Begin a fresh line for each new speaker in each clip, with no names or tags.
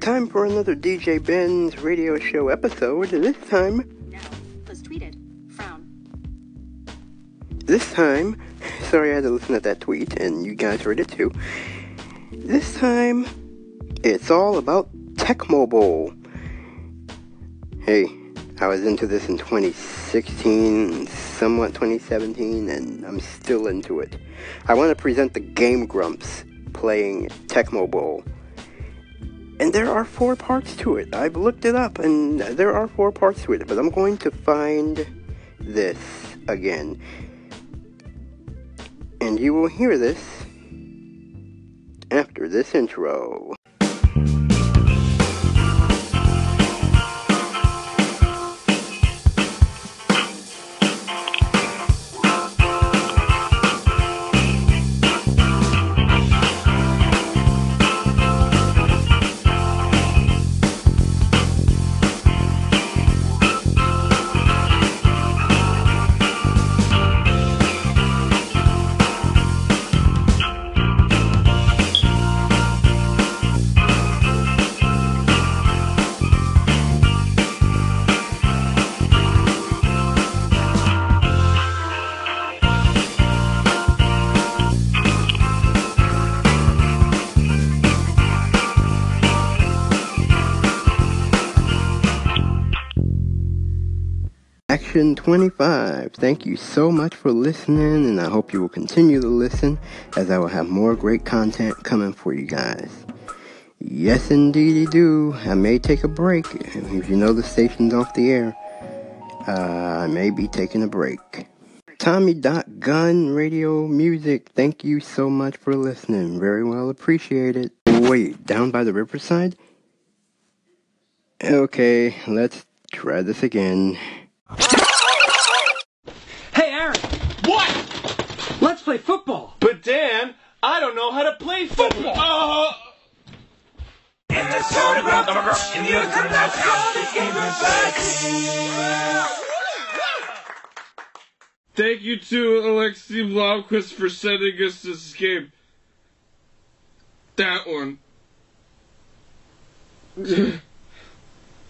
time for another DJ Ben's radio show episode. This time,
Now, was tweeted. Frown.
this time, sorry I had to listen to that tweet, and you guys heard it too. This time, it's all about Tecmobile. Hey, I was into this in 2016, somewhat 2017, and I'm still into it. I want to present the Game Grumps playing Tecmobile. And there are four parts to it. I've looked it up and there are four parts to it, but I'm going to find this again. And you will hear this after this intro. Action 25. Thank you so much for listening, and I hope you will continue to listen as I will have more great content coming for you guys. Yes, indeedy do. I may take a break. If you know the station's off the air, uh, I may be taking a break. Tommy.gun radio music. Thank you so much for listening. Very well appreciated. Wait, down by the riverside? Okay, let's try this again.
Hey, Aaron,
What?
let's play football.
But Dan, I don't know how to play football. Oh. Thank you to Alexei Blomquist for sending us this game. That one.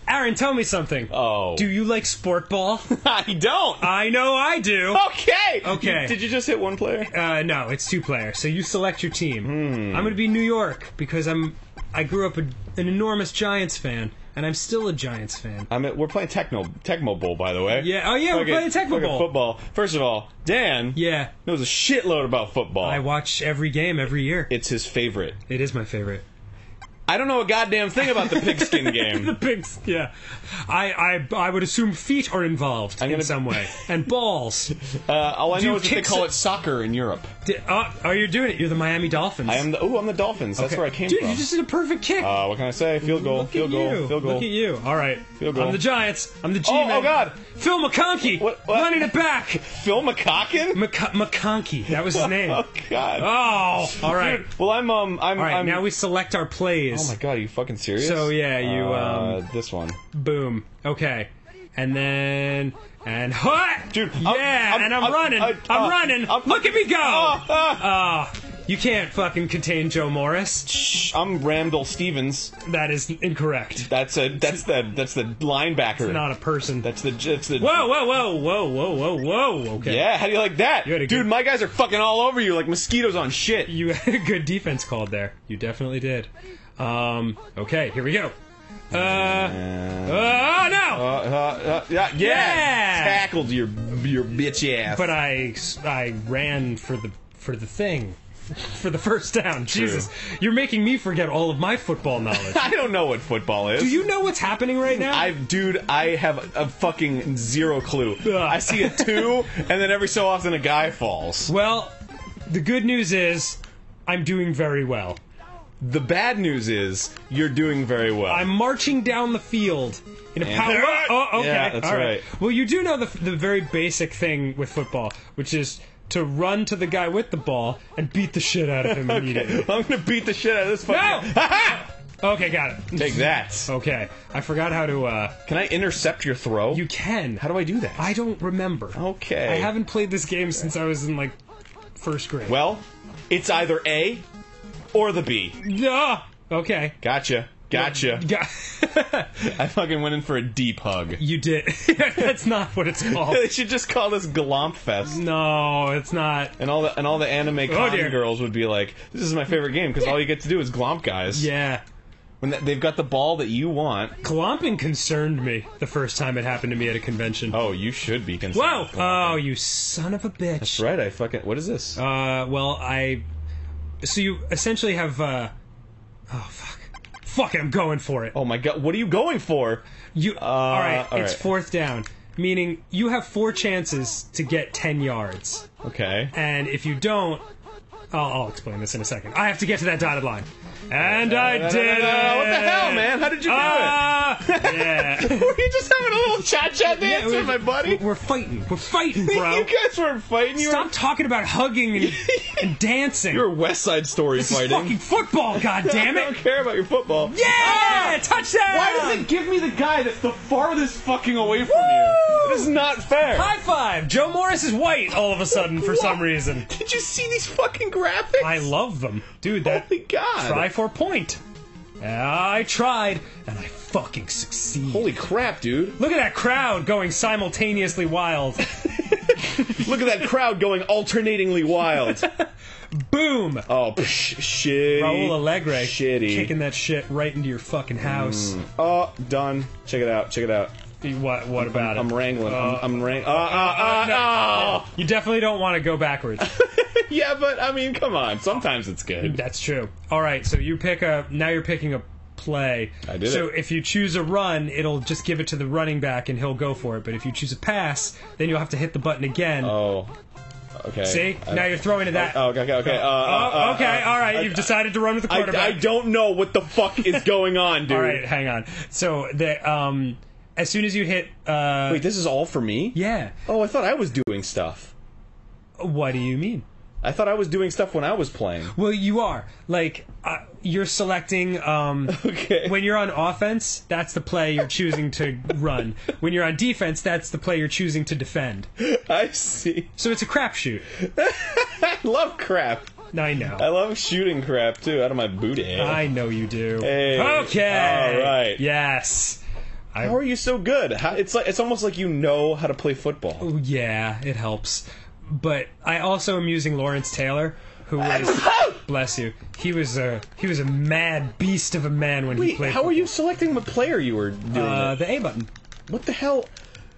Aaron, tell me something.
Oh.
Do you like sport ball?
I don't.
I know I do.
okay.
Okay.
Did you just hit one player? Hmm.
Uh, no, it's two player. So you select your team. I'm gonna be New York because I'm. I grew up a, an enormous Giants fan, and I'm still a Giants fan.
I mean, we're playing Techno Tecmo Bowl, by the way.
Yeah. Oh yeah, we're
Fucking-
playing Tecmo
fucking
Bowl.
Football. First of all, Dan
Yeah.
knows a shitload about football.
I watch every game every year.
it's his favorite.
It is my favorite.
I don't know a goddamn thing about the pigskin game.
The pigs. Yeah. I I I would assume feet are involved
I'm
in
gonna-
some way and balls.
Uh, all I
Do
know is that they
kicks-
call it soccer in Europe.
D- uh, oh, you're doing it. You're the Miami Dolphins.
I am the oh, I'm the Dolphins. That's
Okay.
where I came
Dude,
from.
you just did a perfect kick.
uh, what can I say? Field goal.
Look
field
at
goal.
you.
Field goal.
Look at you. All right.
Field goal.
I'm the Giants. I'm the G
Oh,
man.
oh, God.
Phil McConkey.
What- what?
Running it back.
Phil McCockin.
McC- McConkey. That was his name.
Oh
oh.
God.
All right.
Dude, well, I'm um, I'm
All right.
I'm,
now we select our plays.
Oh my god, are you fucking serious?
So, yeah, you,
Uh,
um,
this one.
Boom. Okay. And then and what?
Dude, I'm-
Yeah.
I'm-
and I'm,
I'm-
running.
I-
I'm
uh,
running.
I'm-
Look at me go.
Oh, ah.
Ah, you can't fucking contain Joe Morris.
Shh, I'm Randall Stevens.
That is incorrect.
That's a that's the that's the linebacker.
Not a person.
that's the that's the.
Whoa, whoa, whoa, whoa, whoa, whoa, whoa. Okay.
Yeah, how do you like that,
You had a
dude?
good-
My guys are fucking all over you like mosquitoes on shit.
You had a good defense called there. You definitely did. Um, okay, here we go. Uh, oh
Uh, uh,
no!
uh, yeah, yeah,
Yeah!
tackled your your bitch ass.
But I, I ran for the for the thing, for the first down. Jesus, you're making me forget all of my football knowledge.
I don't know what football is.
Do you know what's happening right now?
I, dude, I have a fucking zero clue.
Ugh.
I see a two, and then every so often a guy falls.
well, the good news is I'm doing very well.
The bad news is you're doing very well.
I'm marching down the field in a
And-
power. Oh, okay.
Yeah, that's
all
right.
Well, you do know the the very basic thing with football, which is to run to the guy with the ball and beat the shit out of him
Okay,
immediately.
I'm gonna beat the shit out of this fucking.
Okay, got it.
Take that.
Okay, I forgot how to. uh
Can I intercept your throw?
You can.
How do I do that?
I don't remember.
Okay.
I haven't played this game since I was in like first grade.
Well, it's either A or the B.
Ah, okay.
Gotcha. Gotcha.
Yeah.
I fucking went in for a deep hug.
you did. That's not what it's called.
They should just call this Glomp Fest.
No, it's not.
And all the and all the anime
Oh,
con
dear.
girls would be like, "This is my favorite game because all you get to do is glomp guys."
Yeah.
When th- they've got the ball that you want.
Glomping concerned me the first time it happened to me at a convention.
Oh, you should be concerned.
Whoa!
with glomping.
Oh, you son of a bitch.
That's right. I fucking. What is this?
Uh, well, I. So you essentially have. Uh, oh fuck! Fuck it! I'm going for it.
oh my god! What are you going for?
You. all right.
all
It's
right.
fourth down, meaning you have four chances to get ten yards,
Okay.
and if you don't, I'll, I'll explain this in a second. I have to get to that dotted line, and I
What the
did.
hell, man? How did you do it?
Ah, yeah.
Were you just having a little chat chat dance
we-
with my buddy?
We're fighting. We're fighting, bro.
you guys weren't fighting. You
Stop talking about hugging and, and dancing.
were, you were West Side Story
this is
fighting.
fucking football,
I don't
goddammit!
care about your football.
Yeah! Touchdown!
Ah! Why does it give me the guy that's the farthest fucking away from you? This is not fair.
High five! Joe Morris is white all of a sudden for some reason.
Did you see these fucking graphics?
I love them. Dude, that
Holy god.
try for point. I tried, and I fucking succeed.
Holy crap, dude.
Look at that crowd going simultaneously wild.
Look at that crowd going alternatingly wild.
Boom!
Oh, psh, shitty.
Raul Alegre
Shitty.
kicking that shit right into your fucking house.
Oh, done. Check it out. Check it out.
What what about
I'm
it?
wrangling.
Uh,
I'm, I'm wrangling. Uh, uh, uh,
no.
no.
You definitely don't want to go backwards.
Yeah, but I mean, come on. Sometimes it's good.
That's true. All right, so you pick a now you're picking a play.
I did
So
it.
if you choose a run, it'll just give it to the running back and he'll go for it. But if you choose a pass, then you'll have to hit the button again.
Oh. Okay.
See?
I-
now you're throwing to that.
Oh, okay, okay, okay. Uh,
Oh,
uh, uh,
okay.
uh,
all right.
I-
You've decided to run with the
I,
quarterback.
I don't know what the fuck is going on, dude.
all right, hang on. So the um as soon as you hit uh
Wait, this is all for me?
yeah.
Oh, I thought I was doing stuff.
What do you mean?
I thought I was doing stuff when I was playing.
Well, you are. Like uh, you're selecting um
Okay.
when you're on offense, that's the play you're choosing to run. When you're on defense, that's the play you're choosing to defend.
I see.
So it's a crapshoot.
I love crap.
I
I
know.
love shooting crap too, out of my booty.
I know you do.
Hey.
Okay.
All right.
Yes.
How are you so good? How, it's like it's almost like you know how to play football.
Yeah, it helps. But I also am using Lawrence Taylor, who was bless you. He was a he was a mad beast of a man when he
Wait,
played.
how are you selecting what player you were doing?
Uh,
it?
the A button.
What the hell?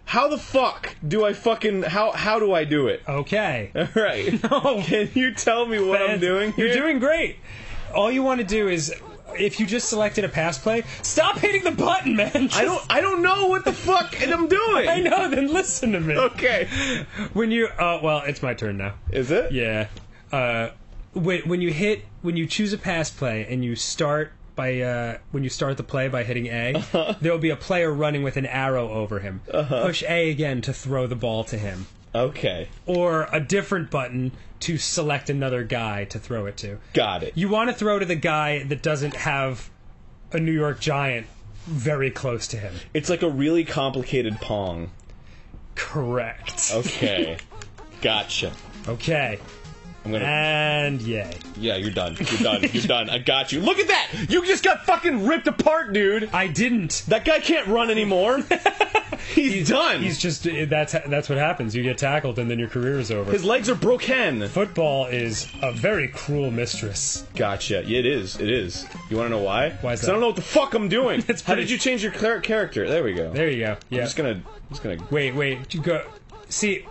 How the fuck do I fucking how how do I do it?
Okay.
All right.
Uh, No.
Can you tell me what I'm
Fans,
doing?
You're
here?
doing great. All you want to do is, if you just selected a pass play, stop hitting the button, man.
I don't I don't know what the fuck I'm doing.
I know. Then listen to me.
Okay.
When you, uh, well, it's my turn now.
Is it?
Yeah. Uh, when when you hit when you choose a pass play and you start by uh, when you start the play by hitting A,
Uh-huh.
there will be a player running with an arrow over him. Push A again to throw the ball to him,
Okay.
or a different button to select another guy to throw it to.
Got it.
You want to throw to the guy that doesn't have a New York Giant very close to him.
It's like a really complicated pong.
Correct.
Okay. gotcha.
Okay.
I'm gonna.
And yay.
Yeah, you're done. You're done. You're done. I got you. Look at that! You just got fucking ripped apart, dude.
I didn't.
That guy can't run anymore. He's, done.
He's just that's that's what happens. You get tackled and then your career is over.
His legs are broken.
Football is a very cruel mistress.
Gotcha. Yeah, it is. It is. You want to know why?
Why is
'Cause
that?
I don't know what the fuck I'm doing.
That's
How
pretty-
did you change your clar- character? There we go.
There you go. Yeah.
I'm just gonna. I'm just gonna.
Wait, wait. You go. See,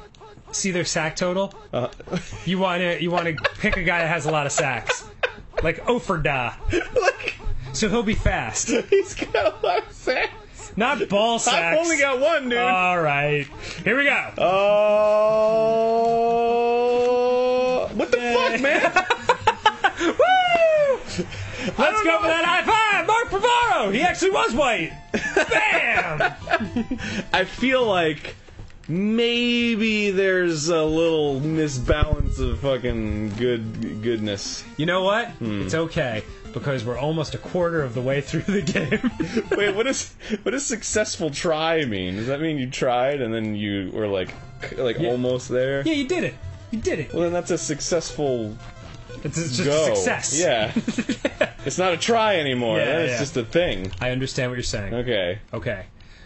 see their sack total.
Uh,
You wanna you wanna pick a guy that has a lot of sacks, like Oferda.
look,
So he'll be fast,
he's got a lot of sacks.
not ball sacks. Oh,
I've only got one, dude.
All right, here we go.
Oh, what the
Yay.
fuck, man?
Woo! Let's
don't
go
know.
for that high five, Mark Pavaro. He actually was white. Bam!
I feel like maybe there's a little misbalance of fucking good goodness.
You know what?
Hmm.
It's okay because we're almost a quarter of the way through the game.
Wait, what is what does successful try mean? Does that mean you tried and then you were like like almost there?
yeah, you did it. You did it.
Well, then that's a successful
It's, it's just
Go.
a success.
Yeah. it's not a try anymore.
Yeah,
it's
yeah.
just a thing.
I understand what you're saying. Okay.
Okay.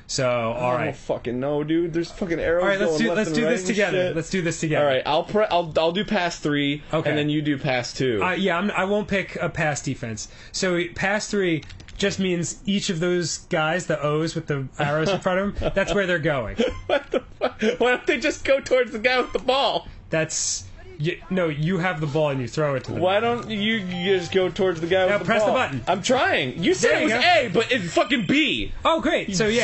So, all
I don't
right.
fucking know, dude. There's fucking arrows.
All right, let's
going
do
left
let's
and
do
right
this
and
together.
shit.
Let's do this together.
All right, I'll pre- I'll I'll do pass three,
Okay.
and then you do pass two.
Uh, yeah, I'm, I won't pick a pass defense. So pass three just means each of those guys, the O's with the arrows in front of them, that's where they're going.
what the fuck? Why don't they just go towards the guy with the ball?
That's you, no, you have the ball and you throw it to them.
Why don't you, you just go towards the guy with the
press the
ball?
button.
I'm trying. You said
There
it
you
was
go.
A, but it's fucking B.
Oh, great! So yeah,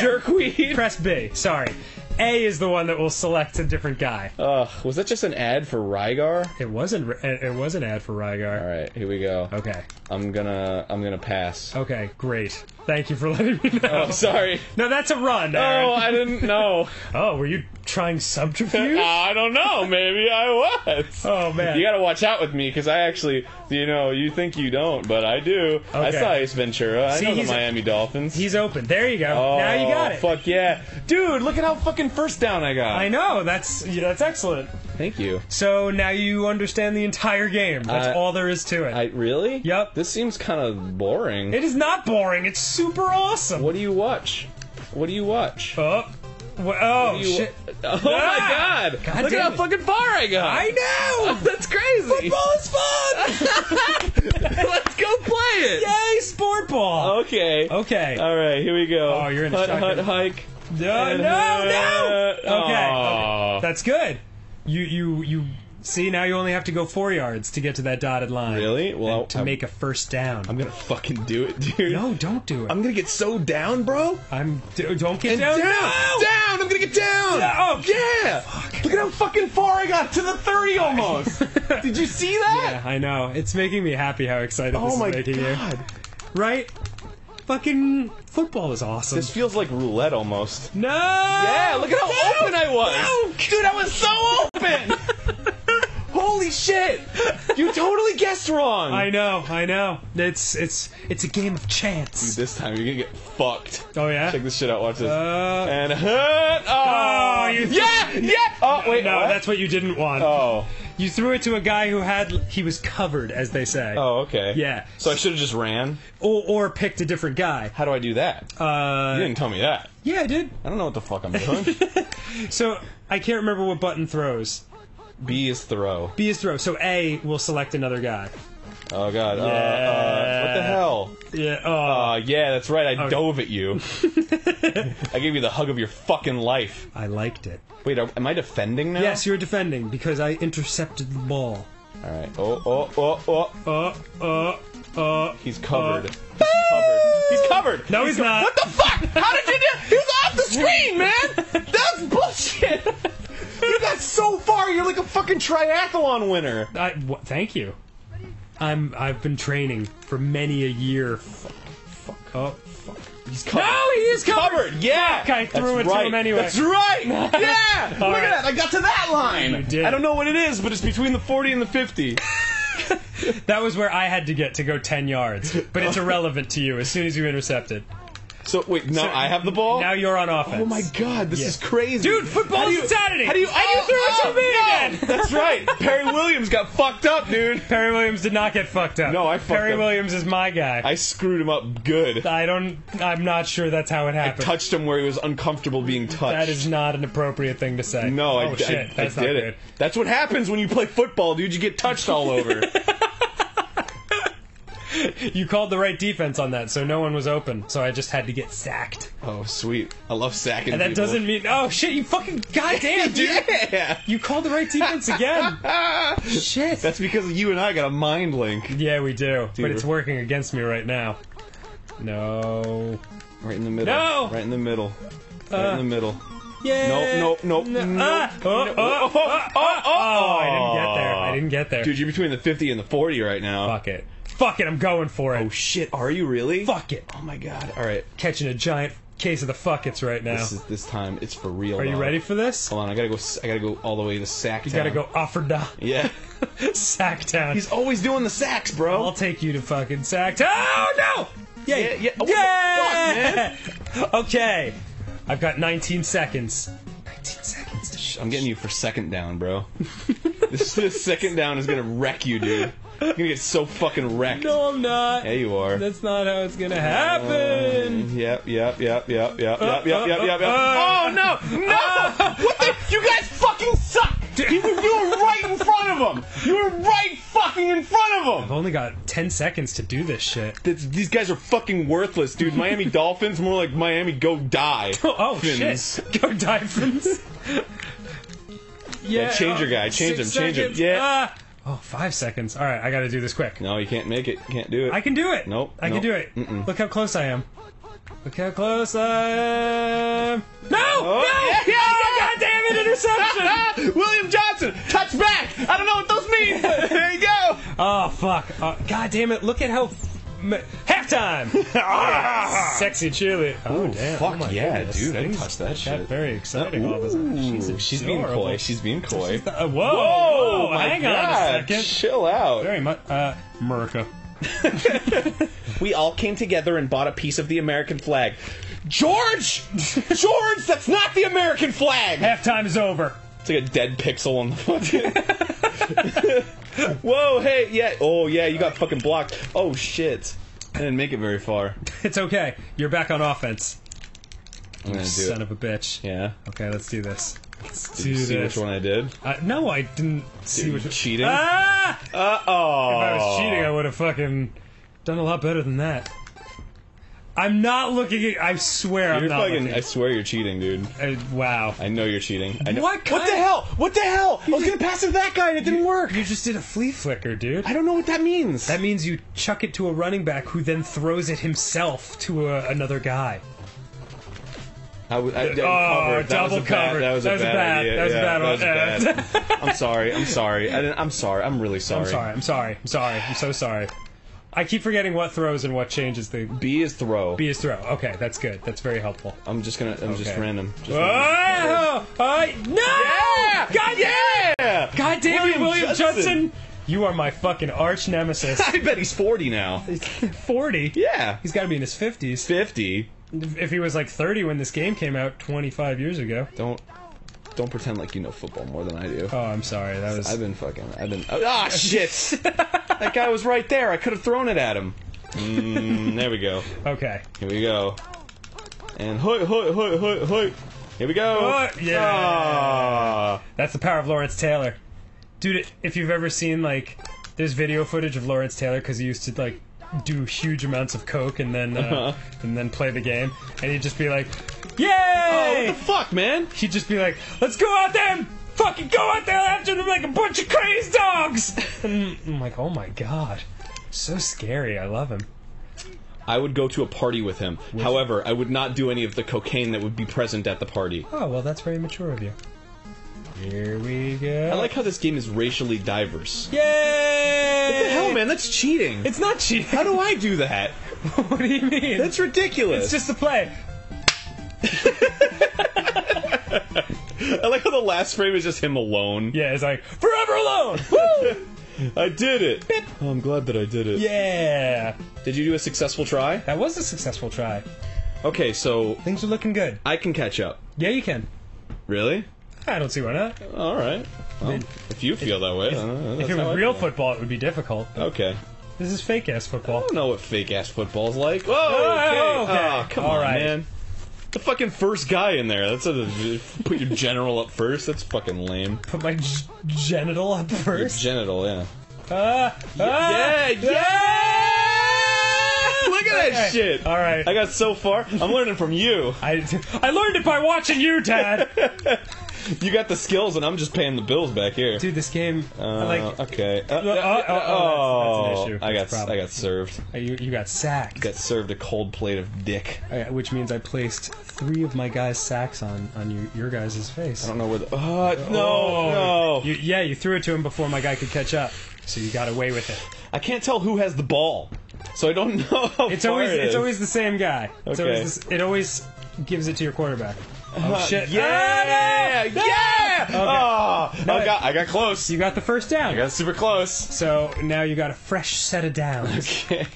Jerkweed.
press B. Sorry, A is the one that will select a different guy.
Ugh, was that just an ad for Rygar?
It wasn't. It it was an ad for Rygar.
All right, here we go.
Okay.
I'm gonna I'm gonna pass.
Okay. Great. Thank you for letting me know.
Oh, sorry.
No, that's a run. Aaron.
Oh, I didn't know.
oh, were you trying subterfuge?
Uh, I don't know. Maybe I was.
Oh, man.
you gotta watch out with me because I actually, you know, you think you don't, but I do. I
Okay.
saw Ace Ventura.
See,
I know the
he's a-
Miami Dolphins.
He's open. There you go.
oh,
now you got it.
Fuck yeah, dude! Look at how fucking first down I got.
I know. That's yeah, that's excellent.
Thank you.
So now you understand the entire game. That's
Uh,
all there is to it.
I really?
Yup.
This seems kind of boring.
it is not boring. It's super awesome.
what do you watch? What do you watch?
Oh, wha- oh
You-
shit!
Oh
Ah!
my god!
God
Look at
damn
how
it.
fucking far I got.
I know.
That's crazy.
Football is fun.
Let's go play it.
Yay, sport
Oh,
ball.
Okay.
Okay.
All right, here we go.
Oh, you're in a
hut, hut,
shotgun.
hike. Uh,
no, no, no. Okay.
Aw.
okay. That's good. You you you see now you only have to go four yards to get to that dotted line.
Really? Well,
And to
I-
make a first down.
I'm gonna fucking do it, dude.
no, don't do it.
I'm gonna get so down, bro.
I'm d- don't get
And
down.
down,
No!
down. I'm gonna get down.
No!
yeah. oh, Look at how fucking far I got to the thirty almost. Did you see
Yeah,
that?
I know. It's making me happy how excited this
Oh
is
my
making
god.
you. Right? Fucking football is awesome.
This feels like roulette almost.
no!
Yeah, look at how
No!
open I was. Dude, I was so open. Holy shit. You totally guessed wrong.
I know, I know. It's it's it's a game of chance.
This time you're gonna get fucked.
Oh yeah.
Check this shit out. Watch this.
Uh,
and hut. Oh,
Oh, you-
yeah, yeah. Oh, wait.
no,
what?
that's what you didn't want.
Oh.
You threw it to a guy who had he was covered, as they say.
Oh, okay.
Yeah.
So I should have just ran.
Or, or picked a different guy.
How do I do that? you
Uh,
didn't tell me that.
yeah, I did.
I don't know what the fuck I'm doing.
So I can't remember what button throws.
B is throw.
B is throw. So A will select another guy.
Oh god. Uh, uh,
Yeah. Oh.
what the hell?
Yeah. Oh.
Uh, yeah, that's right. I
Okay.
dove at you. I gave you the hug of your fucking life.
I liked it.
Wait, are- am I defending now?
Yes, you're defending because I intercepted the ball.
All right. Oh, oh, oh, oh.
Uh, uh, uh.
He's covered. He's
oh.
covered. He's covered.
No, he's not.
What the fuck? How did you do? He was off the screen, man. That's bullshit. You got so far. You're like a fucking triathlon winner.
I, wh- thank you. I'm. I've been training for many a year. Fuck. Oh. Fuck.
He's covered.
No, he is covered.
Yeah.
Fuck, I threw
That's
it to
right.
him anyway.
That's right. Yeah. Look
right.
at that. I got to that line.
You did.
I don't know what it is, but it's between the 40 and the 50.
That was where I had to get to go ten yards, but it's irrelevant to you as soon as you intercept it.
So wait, now I have the ball.
Now you're on offense.
Oh my god, this
Yeah.
is crazy.
Dude, football's
How do you-
Saturday.
How do you, Oh,
And you threw it to me again.
That's right. Perry Williams got fucked up, dude.
Perry Williams did not get fucked up.
No, I fucked
Perry
up.
Williams is my guy.
I screwed him up good.
I, don't. I'm not sure that's how it happened.
touched him where he was uncomfortable being touched.
that is not an appropriate thing to say.
no, I,
oh,
I-
shit,
I
that's not
did it.
good.
That's what happens when you play football, dude. You get touched all over.
You called the right defense on that, so no one was open. So I just had to get sacked.
oh, sweet. I love sacking.
And that
people.
doesn't mean. Oh shit! You fucking goddamn dude!
Yeah.
You called the right defense again. shit.
That's because you and I got a mind link
yeah, we do.
Dude.
But it's working against me right now. No.
right in the middle.
No! Uh,
Right in the middle. right in the middle.
Yeah.
No, no, no, no.
Ah, oh, oh, oh, oh, oh, oh, I didn't get there. I didn't get there.
Dude, you're between the 50 and the 40 right now.
Fuck it. Fuck it. I'm going for it.
Oh shit, are you really?
Fuck it.
Oh my god. All right.
Catching a giant case of the fuckets right now.
This is Oh, this time it's for real.
Are you
though.
ready for this?
Hold on, I gotta go. s- I gotta go all the way to sack.
You gotta go Offerda.
Yeah,
Sacktown.
he's oh. always doing the sacks,
I'll
bro.
take you to fucking Sacktown. Oh no! Yay!
Yeah, yeah. Oh,
Yeah! okay. I've got 19 seconds. 19 seconds to shoot.
I'm getting you for second down, bro. This, this second down is gonna wreck you, dude. You're gonna get so fucking wrecked.
No, I'm not.
Yeah, you are.
That's not how it's gonna happen.
Yep, yep, yep, yep, yep, yep, yep, yep, yep, yep.
uh,
Oh no, no! what the? You guys fucking suck. You, were- you were right in front of them. You were right fucking in front of
I've
them.
only got 10 seconds to do this shit.
That's, these guys are fucking worthless, dude. Miami Dolphins, more like Miami go die.
Oh, oh
Fins.
shit. Go Dolphins. yeah, oh,
change your guy. Change
six
him, change him.
seconds.
Yeah.
Ah. oh, five seconds. All right, I gotta do this quick.
No, you can't make it. You can't do it.
I can do it.
Nope,
I can
nope.
do it.
Mm-mm.
Look how close I am. Look how close I am. No!
Oh,
No!
yeah.
God damn it, interception!
William Johnson, touch back. I don't know what those mean. but there you go.
oh, fuck. Uh, God damn it. Look at how. M- halftime! Sexy cheerlead. Oh, damn.
Ah! fuck
Oh, my
yeah,
goodness.
dude, I
Things
touched that
got
shit.
very exciting all of a sudden.
Ooh,
She's,
she's being
adorable.
coy. She's being coy.
Uh, whoa,
Whoa,
whoa,
my
hang
God.
on a second.
Chill out.
Very much. Uh, America.
We all came together and bought a piece of the American flag. George! George, that's not the American flag!
Halftime is over.
It's like a dead pixel on the fucking. Whoa, hey, yeah. Oh, yeah, you got fucking blocked. Oh, shit. I didn't make it very far.
It's okay. You're back on offense.
I'm gonna do
Son
it.
of a bitch.
Yeah.
Okay, let's do this. Let's
Did
do
you
this.
see which one I did?
Uh, no, I didn't see
Dude,
which.
you cheating?
Ah! If
Uh oh.
I was cheating, I would have fucking done a lot better than that. I'm not looking. At, I swear, I'm
You're
not
fucking. I
looking.
swear you're cheating, dude.
Uh, wow.
I know you're cheating. I know.
What kind-
the hell? What the hell? I was gonna pass it to that guy and it didn't work.
You just did a flea flicker, dude.
I don't know what that means.
That means you chuck it to a running back who then throws it himself to a, another guy.
I was, I, I
Oh,
covered. That was
double
a bad-
covered.
That was a bad. idea.
That was a
Yeah,
bad one.
that was bad. I'm sorry. I'm sorry. I didn't, I'm sorry. I'm really sorry.
I'm sorry. I'm sorry. I'm sorry. I'm so sorry. I keep forgetting what throws and what changes the
B is throw.
B is throw. Okay, that's good. That's very helpful.
I'm just gonna. I'm just
Okay. Ah!
random. Just random.
Oh, oh, no! God,
Yeah.
God damn
William
it, William
Judson.
Judson. You are my fucking arch nemesis.
I bet he's 40 now.
40?
Yeah.
He's got to be in his 50s.
50.
If he was like 30 when this game came out 25 years ago.
Don't. Don't pretend like you know football more than I do.
Oh, I'm sorry. That was.
I've been fucking. I've been. Ah, shit! that guy was right there. I could have thrown it at him. Mm, there we go.
Okay.
Here we go. And hoy, hoy, hoy, hoy, hoy. Here we go.
Oh, yeah.
Ah.
That's the power of Lawrence Taylor. Dude, if you've ever seen like there's video footage of Lawrence Taylor cuz he used to like do huge amounts of coke and then uh,
Uh-huh.
and then play the game and he'd just be like, "Yay!"
Oh, What the fuck, man?
he'd just be like, "Let's go out there and fucking go out there after them like a bunch of crazy dogs." And I'm like, "Oh my god, so scary. I love him."
I would go to a party with him. However, I would not do any of the cocaine that would be present at the party.
Oh well, that's very mature of you. Here we go.
I like how this game is racially diverse.
Yay! What
What the hell, man? That's cheating.
It's not cheating.
how do I do that?
what do you mean?
That's ridiculous.
it's just a play.
I like how the last frame is just him alone.
Yeah, it's like forever alone. Woo!
I did it. Oh, I'm glad that I did it.
yeah,
Did you do a successful try?
that was a successful try.
Okay, so
Things are looking good.
I can catch up.
Yeah, you can.
Really?
I don't see why not.
All right. Well,
It-
if you feel that way, I don't know.
If
That's
it
how I
was real
feel.
football, it would be difficult.
Okay.
This is fake ass
I
football.
don't know what fake ass football's like. Whoa!
Oh,
okay.
okay.
Ah, come
All
on,
right.
man. The fucking first guy in there. That's a, put your general up first. That's fucking lame.
Put my g- genital up
Your
first.
genital, yeah.
Ah,
Yeah,
ah,
yeah! Look at that
Okay.
shit.
All right.
I got so far. I'm learning from you.
I, I learned it by watching you, Dad.
You got the skills, and I'm just paying the bills back here.
Dude, this game, I
Uh,
like,
okay. Uh,
oh, oh, oh,
oh,
that's- that's an issue.
I
That's a
got I
problem.
got served.
uh, you, you got sacked,
Got served a cold plate of dick. I
Uh, which means I placed three of my guys' sacks on on you, your guys' face.
don't know where the. Oh, no, no.
You, yeah, you threw it to him before my guy could catch up, so you got away with it.
I can't tell who has the ball, so I don't know. How
It's
far
always
it
it's
is.
always the same guy. It's
Okay.
always this, it always gives it to your quarterback. Oh
Uh,
shit!
Yeah,
Ah, no! No!
yeah. Oh,
No,
I got I got close.
You got the first down.
I got super close.
So now you got a fresh set of downs.
Okay.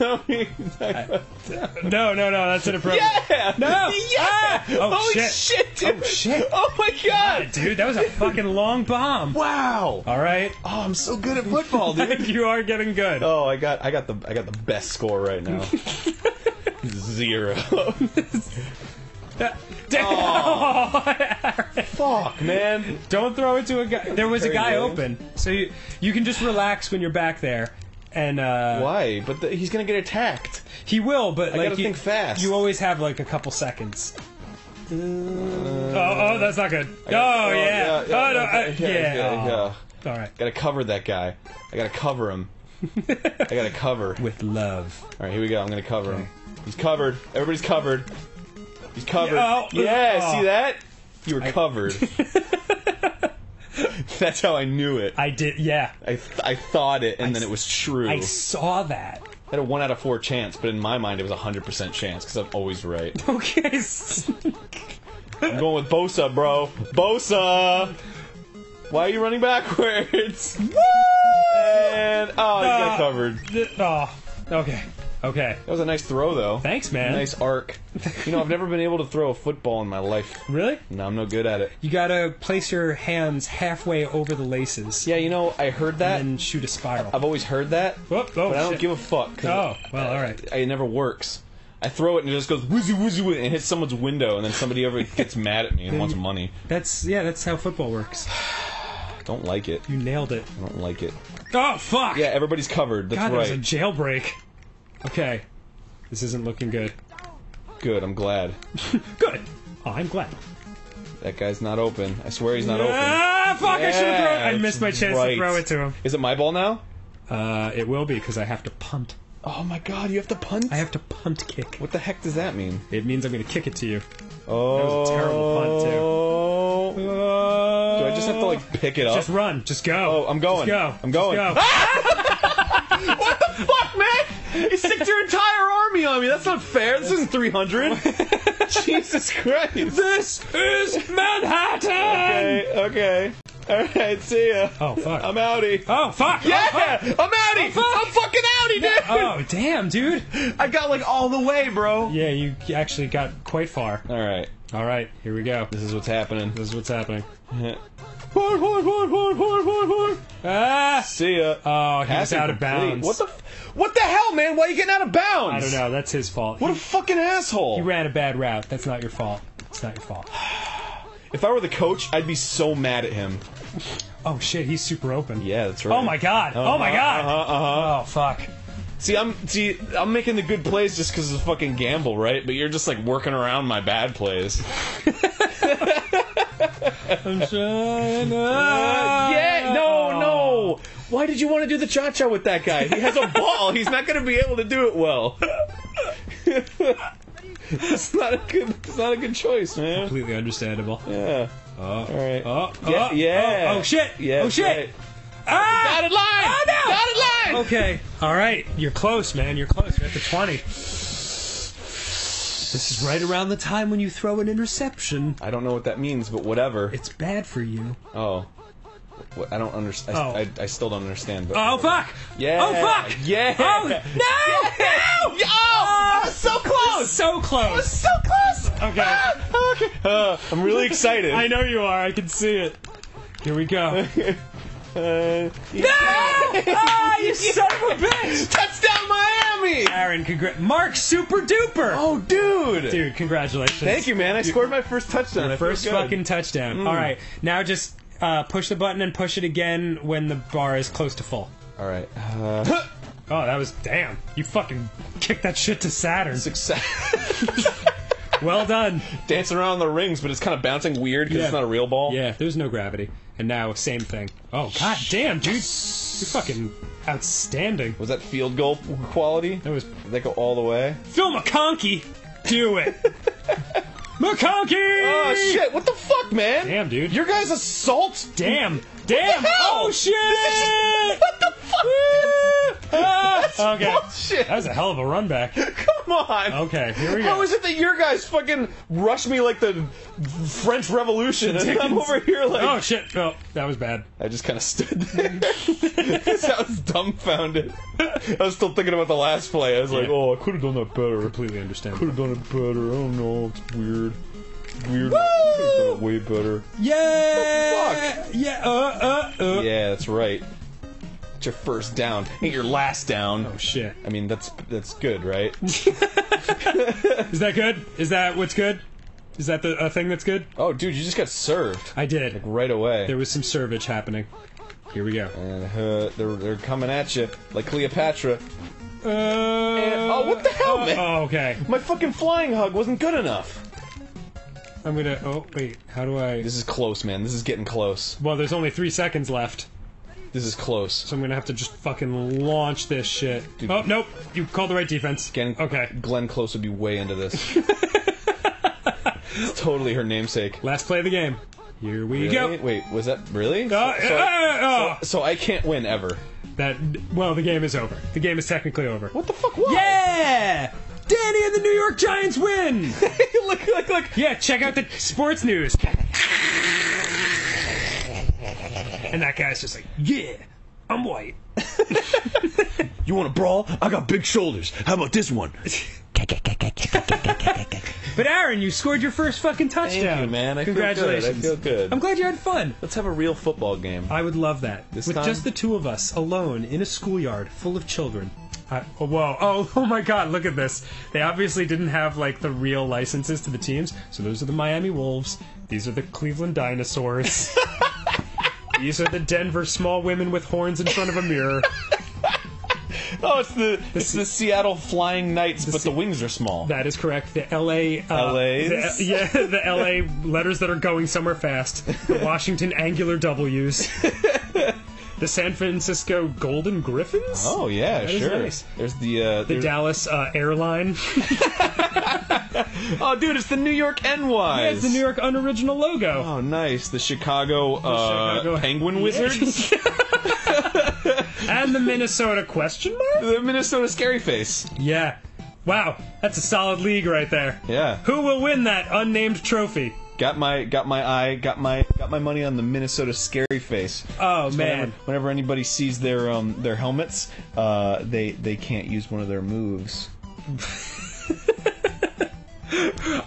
No, exactly.
No, no, no, that's inappropriate.
Yeah!
No!
Yeah!
Ah! Oh,
Holy
shit.
dude!
Oh, shit.
Oh my god!
Dude, that was a fucking long bomb.
Wow!
All right.
Oh, I'm so good at football, dude.
you are getting good.
Oh, I got I got the I got the best score right now. Zero.
Damn.
Oh. Fuck, man.
Don't throw it to a guy. There was a
Kerry
guy
Williams.
open, so you you can just relax when you're back there, and uh,
Why? But the, he's gonna get attacked.
he will. But like,
gotta
you,
think fast. Uh,
You always have like a couple seconds. oh, oh, that's not good. Oh,
got-
yeah.
yeah,
oh, no,
yeah,
I-
yeah,
yeah.
yeah,
oh.
yeah.
All right.
Gotta cover that guy. I gotta cover him. I gotta cover. All
With love.
right, here we go. I'm gonna cover him. He's covered. Everybody's covered. He's covered.
Yeah, oh,
yeah,
oh.
see that? You were covered. That's how I knew it.
I did. Yeah.
I, th- I thought it, and
s-
then it was true.
I saw that.
I had a one out of four chance, but in my mind it was a hundred percent chance because I'm always right.
Okay.
I'm going with Bosa, bro. Bosa. Why are you running backwards? and oh, you
Ah.
got covered.
Th- oh. Okay. Okay.
That was a nice throw, though.
Thanks, man.
Nice arc. You know, I've never been able to throw a football in my life.
Really?
No, I'm no good at it.
You gotta place your hands halfway over the laces
Yeah, you know, I heard that.
and shoot a spiral.
I've always heard that,
Whoop, oh,
but I don't
shit.
give a fuck. 'cause
Oh, well, all right.
it- It never works. I throw it and it just goes wizzy wizzy wizzy, and hits someone's window, and then somebody over gets mad at me and wants money.
That's yeah. That's how football works.
Don't like it.
You nailed it.
I don't like it.
Oh fuck!
Yeah, everybody's covered. That's
God, that was a
right.
jailbreak. Okay, this isn't looking good.
Good. I'm glad
Good. Oh, I'm glad.
that guy's not open. I swear he's not open.
Ah, fuck! I should have thrown.
Yeah,
I missed my
that's
chance
right.
to throw it to him.
Is it my ball now?
Uh, it will be because I have to punt.
Oh my god, you have to punt.
I have to punt kick.
What the heck does that mean?
It means I'm gonna kick it to you.
Oh,
was a terrible
punt too.
Uh,
Do I just have to like pick it up?
Just run. Just go.
Oh, I'm going.
Just go.
I'm going. Ah!
Just go.
what the fuck, man? You sicked your entire army on me. That's not fair. This isn't 300. Jesus Christ.
This is Manhattan.
Okay, okay. All right, see ya.
Oh fuck.
I'm outie.
oh fuck.
Yeah, I'm outie.
fuck.
I'm fucking outie, dude.
Oh damn, dude.
I got like all the way, bro.
Yeah, you actually got quite far.
All right,
All right, here we go.
this is what's happening.
This is what's happening.
Horn, horn, horn, horn, horn, horn, horn.
Ah!
See ya.
Oh, he was
Pass
out of
incomplete.
bounds.
What the? F- what the hell, man? Why are you getting out of bounds?
I don't know. That's his fault.
What a fucking asshole.
he ran a bad route. That's not your fault. It's not your fault.
If I were the coach, I'd be so mad at him.
Oh shit, he's super open.
Yeah, that's right.
Oh my god. oh my
Uh-huh,
god.
Uh-huh, uh-huh.
Oh fuck.
See, I'm see, I'm making the good plays just because it's a fucking gamble, right? But you're just like working around my bad plays. Uh, yeah, no, no. Why did you want to do the cha cha with that guy? He has a ball. He's not going to be able to do it well. it's not a good. It's not a good choice, man.
Completely understandable.
Yeah.
Oh.
All right.
Oh,
yeah,
oh,
yeah.
Oh, oh, shit.
Yeah,
oh shit.
right.
Ah!
Dotted line.
Oh, no!
Dotted line.
Okay. All right. You're close, man. You're close. You're at the 20. This is right around the time when you throw an interception.
I don't know what that means, but whatever.
It's bad for you.
Oh. What, I don't understand.
Oh.
I, I still don't understand. But
Oh fuck!
Yeah.
Oh fuck!
Yeah.
Oh no! No!
Oh, I was so close.
So
I was
close.
so close.
Okay.
Ah, okay. Uh, I'm really excited.
I know you are. I can see it. Here we go.
Uh,
no! Ah, you son of a bitch!
touchdown Miami.
Aaron, congr- Mark, super duper.
Oh, dude.
dude, congratulations!
Thank you, man. I scored my first touchdown. I feel
First
good. Mm.
fucking touchdown. All right, now just uh, push the button and push it again when the bar is close to full.
All right. Uh,
Oh, that was damn! You fucking kicked that shit to Saturn.
success.
Well done.
Dancing around the rings, but it's kind of bouncing weird because
Yeah.
it's not a real ball.
Yeah, there's no gravity. And now, same thing. Oh, god damn, dude. You're fucking outstanding.
Was that field goal quality?
That was
Did that go all the way?
Phil McConkey. Do it. McConkey!
Oh shit! What the fuck, man?
Damn, dude.
Your guys assault.
Damn. Damn.
hell?
Oh, shit.
What the fuck?
Ah,
That's
okay. Ah.
bullshit.
That was a hell of a run back.
Come Come on.
Okay, here we go.
How is it that your guys fucking rush me like the French Revolution, and I'm over here like
Oh shit! Oh, that was bad.
I just kind of stood there. I was dumbfounded. I was still thinking about the last play. I was like,
Yeah.
oh, I could have done that better.
Completely understandable.
Could have done it better. I don't know. It's weird. Weird. Could have done it way better.
Yeah. Yeah. Uh. Uh. Uh.
Yeah, that's right. It's your first down. Ain't your last down.
Oh shit!
I mean, that's that's good, right?
Is that good? Is that what's good? Is that the uh, thing that's good?
oh, dude, you just got served
I did.
right away.
There was some servage happening. Here we go.
and uh, they're they're coming at you like Cleopatra.
Uh,
oh, what the hell, man?
Oh, okay.
My fucking flying hug wasn't good enough.
I'm gonna. Oh, wait. How do I?
This is close, man. This is getting close.
Well, there's only three seconds left,
This is close.
so I'm gonna have to just fucking launch this shit.
Dude.
Oh, nope. You called the right defense.
Getting
Okay.
Glenn Close would be way into this. it's totally her namesake.
Last play of the game. Here we
Really?
go.
Wait, was that really?
Uh,
so, so I,
uh, uh,
so I can't win ever.
that. Well, the game is over. The game is technically over.
What the fuck? Why?
Yeah! Danny and the New York Giants win!
look, look, look.
yeah, check out the sports news. And that guy's just like, yeah, I'm white.
You want to brawl? I got big shoulders. How about this one?
But Aaron, you scored your first fucking touchdown.
Thank you, man. I feel good. I
Congratulations.
feel good.
I'm glad you had fun.
Let's have a real football game.
I would love that.
This
With
time-
just the two of us, alone, in a schoolyard, full of children. I, oh, whoa. Oh, oh my god, look at this. They obviously didn't have, like, the real licenses to the teams. So those are the Miami Wolves. These are the Cleveland Dinosaurs. These are the Denver small women with horns in front of a mirror.
Oh, it's the it's the Seattle Flying Knights, but
Se-
the wings are small.
That is correct. The L.A. Uh,
LAs?
the- yeah, the L.A. letters that are going somewhere fast. The Washington angular W's. the San Francisco Golden Griffins.
Oh yeah,
That is
sure.
nice.
There's the uh,
The
there's-
Dallas uh, airline.
oh dude, it's the New York NY.
It's the New York unoriginal logo.
Oh nice, the Chicago, uh,
Chicago-
Penguin Wizards,
And the Minnesota question mark?
the Minnesota Scary Face.
Yeah. Wow, that's a solid league right there.
Yeah,
Who will win that unnamed trophy?
got my got my eye, got my got my money on the Minnesota Scary Face.
Oh
Whenever,
man.
whenever anybody sees their um their helmets, uh, they they can't use one of their moves.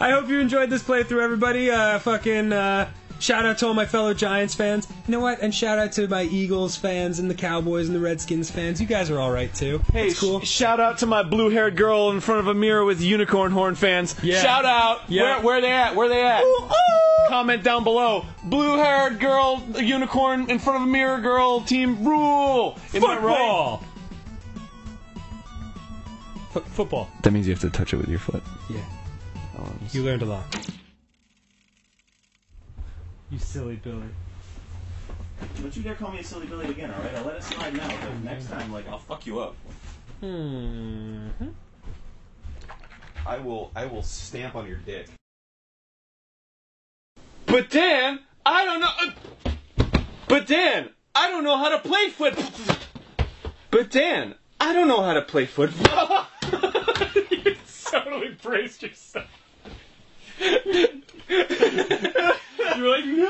I hope you enjoyed this playthrough, everybody. Uh, fucking uh, shout out to all my fellow Giants fans. You know what? And shout out to my Eagles fans and the Cowboys and the Redskins fans. You guys are all right too.
Hey,
That's cool.
sh- shout out to my blue-haired girl in front of a mirror with unicorn horn fans.
Yeah.
Shout out.
Yeah.
Where, where they at? Where they at? Comment down below. Blue-haired girl, unicorn in front of a mirror girl team rule. Am I right?
football. F- football.
That means you have to touch it with your foot.
Yeah. You learned a lot. You silly Billy.
Don't you dare call me a silly billy again, all right? I'll let it slide now. But next time, like, I'll fuck you up.
Hmm.
I will. I will stamp on your dick.
But Dan, I don't know. uh, But Dan, I don't know how to play foot. But Dan, I don't know how to play foot. you totally braced yourself. you were like, no!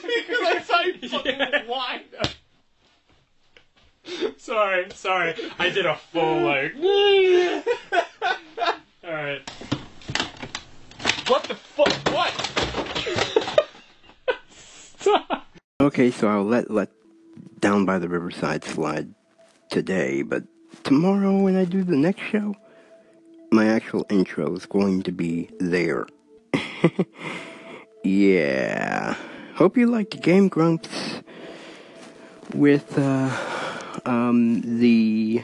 because I saw you fucking wind up. Sorry, sorry. I did a full like. Alright. What the fuck? What?
Okay, so I'll let let down by the riverside slide today, but tomorrow when I do the next show, my actual intro is going to be there. yeah. Hope you liked Game Grumps with uh um the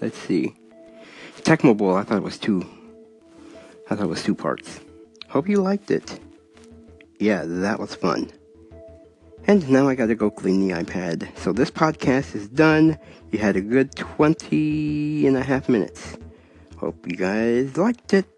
let's see. Tecmo Bowl, I thought it was two I thought it was two parts. Hope you liked it. Yeah, that was fun. And now I gotta go clean the iPad. So this podcast is done. You had a good 20 and a half minutes. Hope you guys liked it.